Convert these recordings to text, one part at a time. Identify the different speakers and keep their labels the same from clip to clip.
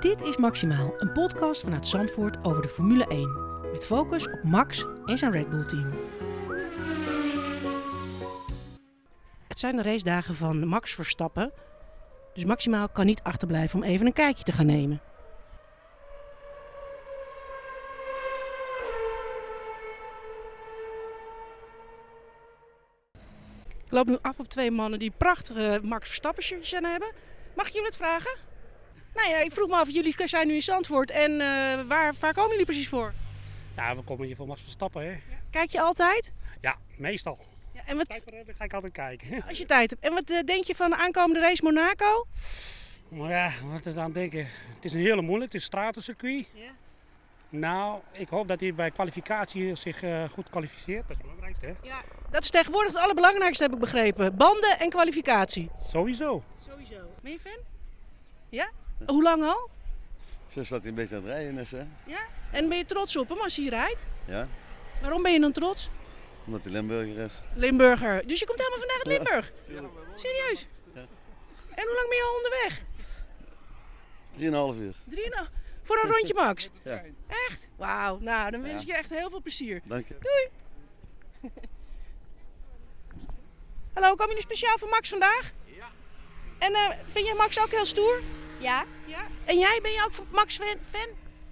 Speaker 1: Dit is Maximaal, een podcast vanuit Zandvoort over de Formule 1. Met focus op Max en zijn Red Bull-team. Het zijn de racedagen van Max Verstappen. Dus Maximaal kan niet achterblijven om even een kijkje te gaan nemen. Ik loop nu af op twee mannen die prachtige Max Verstappen shirtjes aan hebben. Mag ik jullie het vragen? Nou ja, ik vroeg me af, jullie zijn nu in Zandvoort en eh, waar, waar komen jullie precies voor?
Speaker 2: Ja, we komen hier voor Max Verstappen, hè?
Speaker 1: Kijk je altijd?
Speaker 2: Ja, meestal.
Speaker 1: Ja, en wat,
Speaker 2: Tijd voor hebben, ga ik altijd kijken.
Speaker 1: als je tijd hebt. En wat eh, denk je van de aankomende race Monaco?
Speaker 2: Maar ja, wat is aan denken? Het is een hele moeilijk, het is een stratencircuit.
Speaker 1: Ja.
Speaker 2: Nou, ik hoop dat hij bij kwalificatie zich eh, goed kwalificeert. Dat is het belangrijkste, hè?
Speaker 1: Dat is tegenwoordig het allerbelangrijkste, heb ik begrepen. Banden en kwalificatie.
Speaker 2: Sowieso.
Speaker 1: Sowieso. Ben je fan? Ja? Hoe lang al?
Speaker 3: Ze staat een beetje aan het rijden is, hè?
Speaker 1: En ben je trots op hem als hij rijdt?
Speaker 3: Ja,
Speaker 1: Waarom ben je dan trots?
Speaker 3: omdat hij Limburger is.
Speaker 1: Limburger. Dus je komt helemaal vandaag uit Limburg? Serieus? En hoe lang ben je al onderweg?
Speaker 3: 3,5 uur.
Speaker 1: Drieënhalf. Voor een rondje Max?
Speaker 3: Ja.
Speaker 1: Echt? Wauw. Nou, dan wens
Speaker 3: Ja.
Speaker 1: ik je echt heel veel plezier.
Speaker 3: Dank je.
Speaker 1: Hallo, kom je nu speciaal voor Max vandaag? Ja. En eh, vind jij Max ook heel stoer?
Speaker 4: Ja.
Speaker 1: Ja. En jij, ben je ook van Max fan? fan?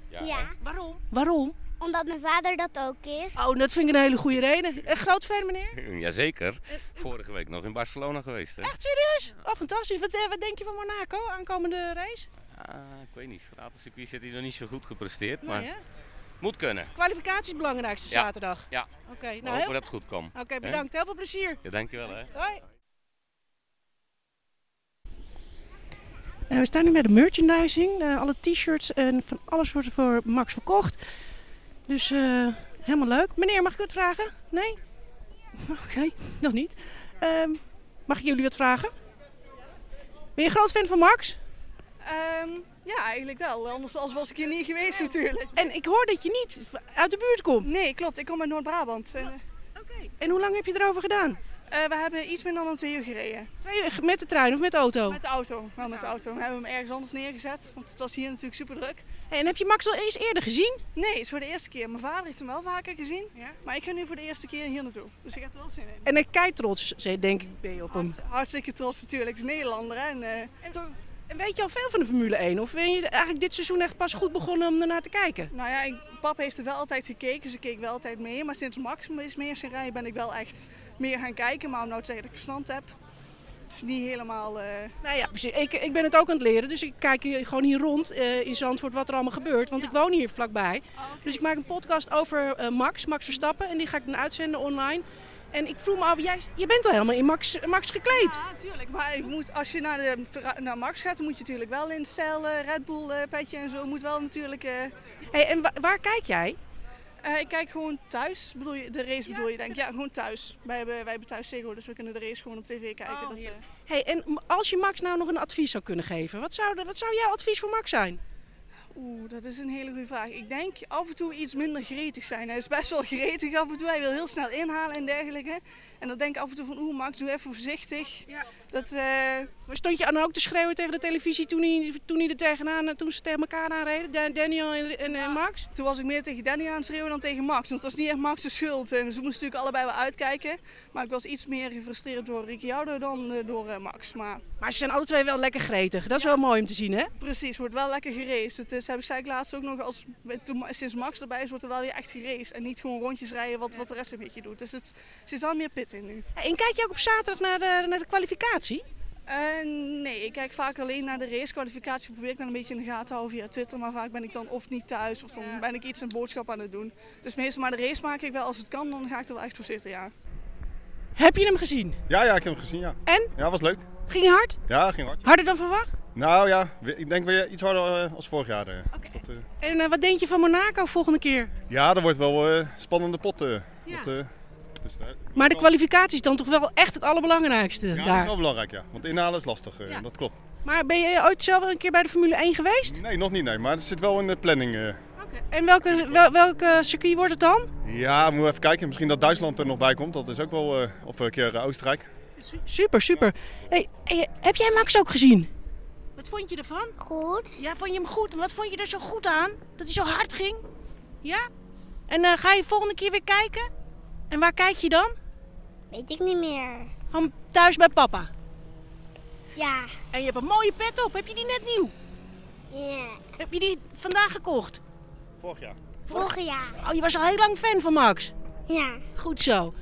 Speaker 4: ja?
Speaker 1: Waarom? Waarom?
Speaker 4: omdat mijn vader dat ook is.
Speaker 1: Oh, dat vind ik een hele goede reden. Een groot fan, meneer?
Speaker 5: Jazeker.
Speaker 1: Eh,
Speaker 5: Vorige week nog in Barcelona geweest, hè?
Speaker 1: Echt serieus? Oh, fantastisch. Wat, eh, wat denk je van Monaco, aankomende race?
Speaker 5: Ah, ik weet niet. Stratencircuit zit hij nog niet zo goed gepresteerd,
Speaker 1: Nee,
Speaker 5: maar
Speaker 1: hè?
Speaker 5: moet kunnen.
Speaker 1: Kwalificatie is het belangrijkste
Speaker 5: Ja.
Speaker 1: zaterdag.
Speaker 5: Ja.
Speaker 1: Oké,
Speaker 5: We
Speaker 1: nou,
Speaker 5: hopen
Speaker 1: heel...
Speaker 5: dat het goed komt.
Speaker 1: Oké, bedankt. Heel veel plezier.
Speaker 5: Ja, dankjewel, hè.
Speaker 1: Hoi. Eh, we staan nu bij de merchandising. Eh, alle t-shirts en van alles wordt er voor Max verkocht. Dus eh, helemaal leuk. Meneer, mag ik wat vragen? Nee? Oké, nog niet. Ehm, mag ik jullie wat vragen? Ben je een groot fan van Max?
Speaker 6: Ehm, ja, eigenlijk wel. Anders anders was ik hier niet geweest natuurlijk.
Speaker 1: En ik hoor dat je niet v- uit de buurt komt.
Speaker 6: Nee, klopt. Ik kom uit Noord-Brabant. En,
Speaker 1: Oké. En hoe lang heb je erover gedaan?
Speaker 6: eh, we hebben iets minder dan twee uur gereden.
Speaker 1: Twee uur met de trein of met de auto?
Speaker 6: Met de auto. Wel met de auto. We hebben hem ergens anders neergezet. Want het was hier natuurlijk super druk.
Speaker 1: Hey, en heb je Max al eens eerder gezien?
Speaker 6: Nee, het is voor de eerste keer. Mijn vader heeft hem wel vaker gezien.
Speaker 1: Ja.
Speaker 6: Maar ik ga nu voor de eerste keer hier naartoe. Dus ik heb er wel zin in.
Speaker 1: En ik kijk trots, denk ik, ben je op hem.
Speaker 6: Hartst- Hartstikke trots natuurlijk. Het is een Nederlander. hè. En, eh,
Speaker 1: En weet je al veel van de Formule 1? Of ben je eigenlijk dit seizoen echt pas goed begonnen om ernaar te kijken?
Speaker 6: nou ja, ik- pap heeft er wel altijd gekeken. Dus ik keek wel altijd mee. Maar sinds Max is meer zijn rijden ben ik wel echt meer gaan kijken. Maar om nou te zeggen dat ik verstand heb, is niet helemaal... eh,
Speaker 1: Nou ja, precies. Ik, ik ben het ook aan het leren. Dus ik kijk hier, gewoon hier rond eh, in Zandvoort wat er allemaal gebeurt. Want ik woon hier vlakbij. Dus ik maak een podcast over eh, Max, Max Verstappen. En die ga ik dan uitzenden online. En ik vroeg me af, jij, je bent al helemaal in Max, Max gekleed.
Speaker 6: Ja, natuurlijk. Maar je moet, als je naar, de, verra- naar Max gaat, dan moet je natuurlijk wel in stijl eh, Red Bull eh, petje en zo. Moet wel natuurlijk. eh,
Speaker 1: Hey, en wa- waar kijk jij?
Speaker 6: eh, ik kijk gewoon thuis. Bedoel je, de race bedoel je denk ik? Ja, gewoon thuis. Wij hebben, wij hebben thuis Ziggo, dus we kunnen de race gewoon op tv kijken.
Speaker 1: Oh,
Speaker 6: dat, eh,
Speaker 1: heerlijk. Hey, en m- als je Max nou nog een advies zou kunnen geven, wat zou, de- wat zou jouw advies voor Max zijn?
Speaker 6: Oeh, dat is een hele goede vraag. Ik denk af en toe iets minder gretig zijn. Hij is best wel gretig af en toe. Hij wil heel snel inhalen en dergelijke. En dan denk ik af en toe van, oeh Max, doe even voorzichtig.
Speaker 1: Ja.
Speaker 6: Dat, eh,
Speaker 1: Maar stond je dan ook te schreeuwen tegen de televisie toen, hij, toen, hij er tegenaan, toen ze tegen elkaar aanreden, Dan- Daniel en, en, en Max?
Speaker 6: Toen was ik meer tegen Danny aan het schreeuwen dan tegen Max. Want het was niet echt Max' schuld. En ze moesten natuurlijk allebei wel uitkijken. Maar ik was iets meer gefrustreerd door Ricciardo dan eh, door eh, Max. Maar
Speaker 1: Maar ze zijn alle twee wel lekker gretig. Dat is wel mooi om te zien, hè?
Speaker 6: precies, wordt wel lekker geraced. Het is, heb ik zei ik laatst ook nog, als, toen, sinds Max erbij is, wordt er wel weer echt geraced. En niet gewoon rondjes rijden wat, wat de rest een beetje doet. Dus het er zit wel meer pit in nu.
Speaker 1: En kijk je ook op zaterdag naar de, naar de kwalificatie?
Speaker 6: Eh, nee, ik kijk vaak alleen naar de racekwalificatie. Probeer ik dan een beetje in de gaten te houden via Twitter. Maar vaak ben ik dan of niet thuis of dan ben ik iets een boodschap aan het doen. Dus meestal maar de race maak ik wel als het kan. Dan ga ik er wel echt voor zitten, ja.
Speaker 1: Heb je hem gezien?
Speaker 7: Ja, ja, ik heb hem gezien, ja.
Speaker 1: En?
Speaker 7: Ja, was leuk.
Speaker 1: Ging hij hard?
Speaker 7: Ja, ging hard.
Speaker 1: Harder dan verwacht?
Speaker 7: Nou ja, we- ik denk weer iets harder eh, als vorig jaar. eh. Dus dat, eh,
Speaker 1: En eh, wat denk je van Monaco volgende keer?
Speaker 7: ja, dat wordt wel eh, spannende pot. eh.
Speaker 1: Ja.
Speaker 7: Dat, eh, dus daar-
Speaker 1: Maar de
Speaker 7: ja,
Speaker 1: kwalificatie is dan toch wel echt het allerbelangrijkste
Speaker 7: dat is
Speaker 1: daar.
Speaker 7: wel belangrijk, ja. Want inhalen is lastig, eh,
Speaker 1: Ja.
Speaker 7: dat klopt.
Speaker 1: Maar ben je ooit zelf wel een keer bij de Formule 1 geweest?
Speaker 7: Nee, nog niet, nee. Maar het zit wel in de planning. eh.
Speaker 1: En welke, wel, welke circuit wordt het dan?
Speaker 7: Ja, moeten we even kijken. Misschien dat Duitsland er nog bij komt. Dat is ook wel... eh, of een keer eh, Oostenrijk.
Speaker 1: Super, super. Hey, hey, heb jij Max ook gezien? Wat Wat vond je ervan?
Speaker 4: Goed.
Speaker 1: Ja, vond je hem goed? En wat vond je er zo goed aan? Dat hij zo hard ging? Ja? En eh, ga je volgende keer weer kijken? En waar kijk je dan?
Speaker 4: Weet ik niet meer.
Speaker 1: Gewoon thuis bij papa.
Speaker 4: Ja.
Speaker 1: En je hebt een mooie pet op. Heb je die net nieuw?
Speaker 4: ja.
Speaker 1: Heb je die vandaag gekocht?
Speaker 7: Vorig jaar.
Speaker 4: Vorig jaar.
Speaker 1: Oh, je was al heel lang fan van Max.
Speaker 4: Ja.
Speaker 1: Goed zo.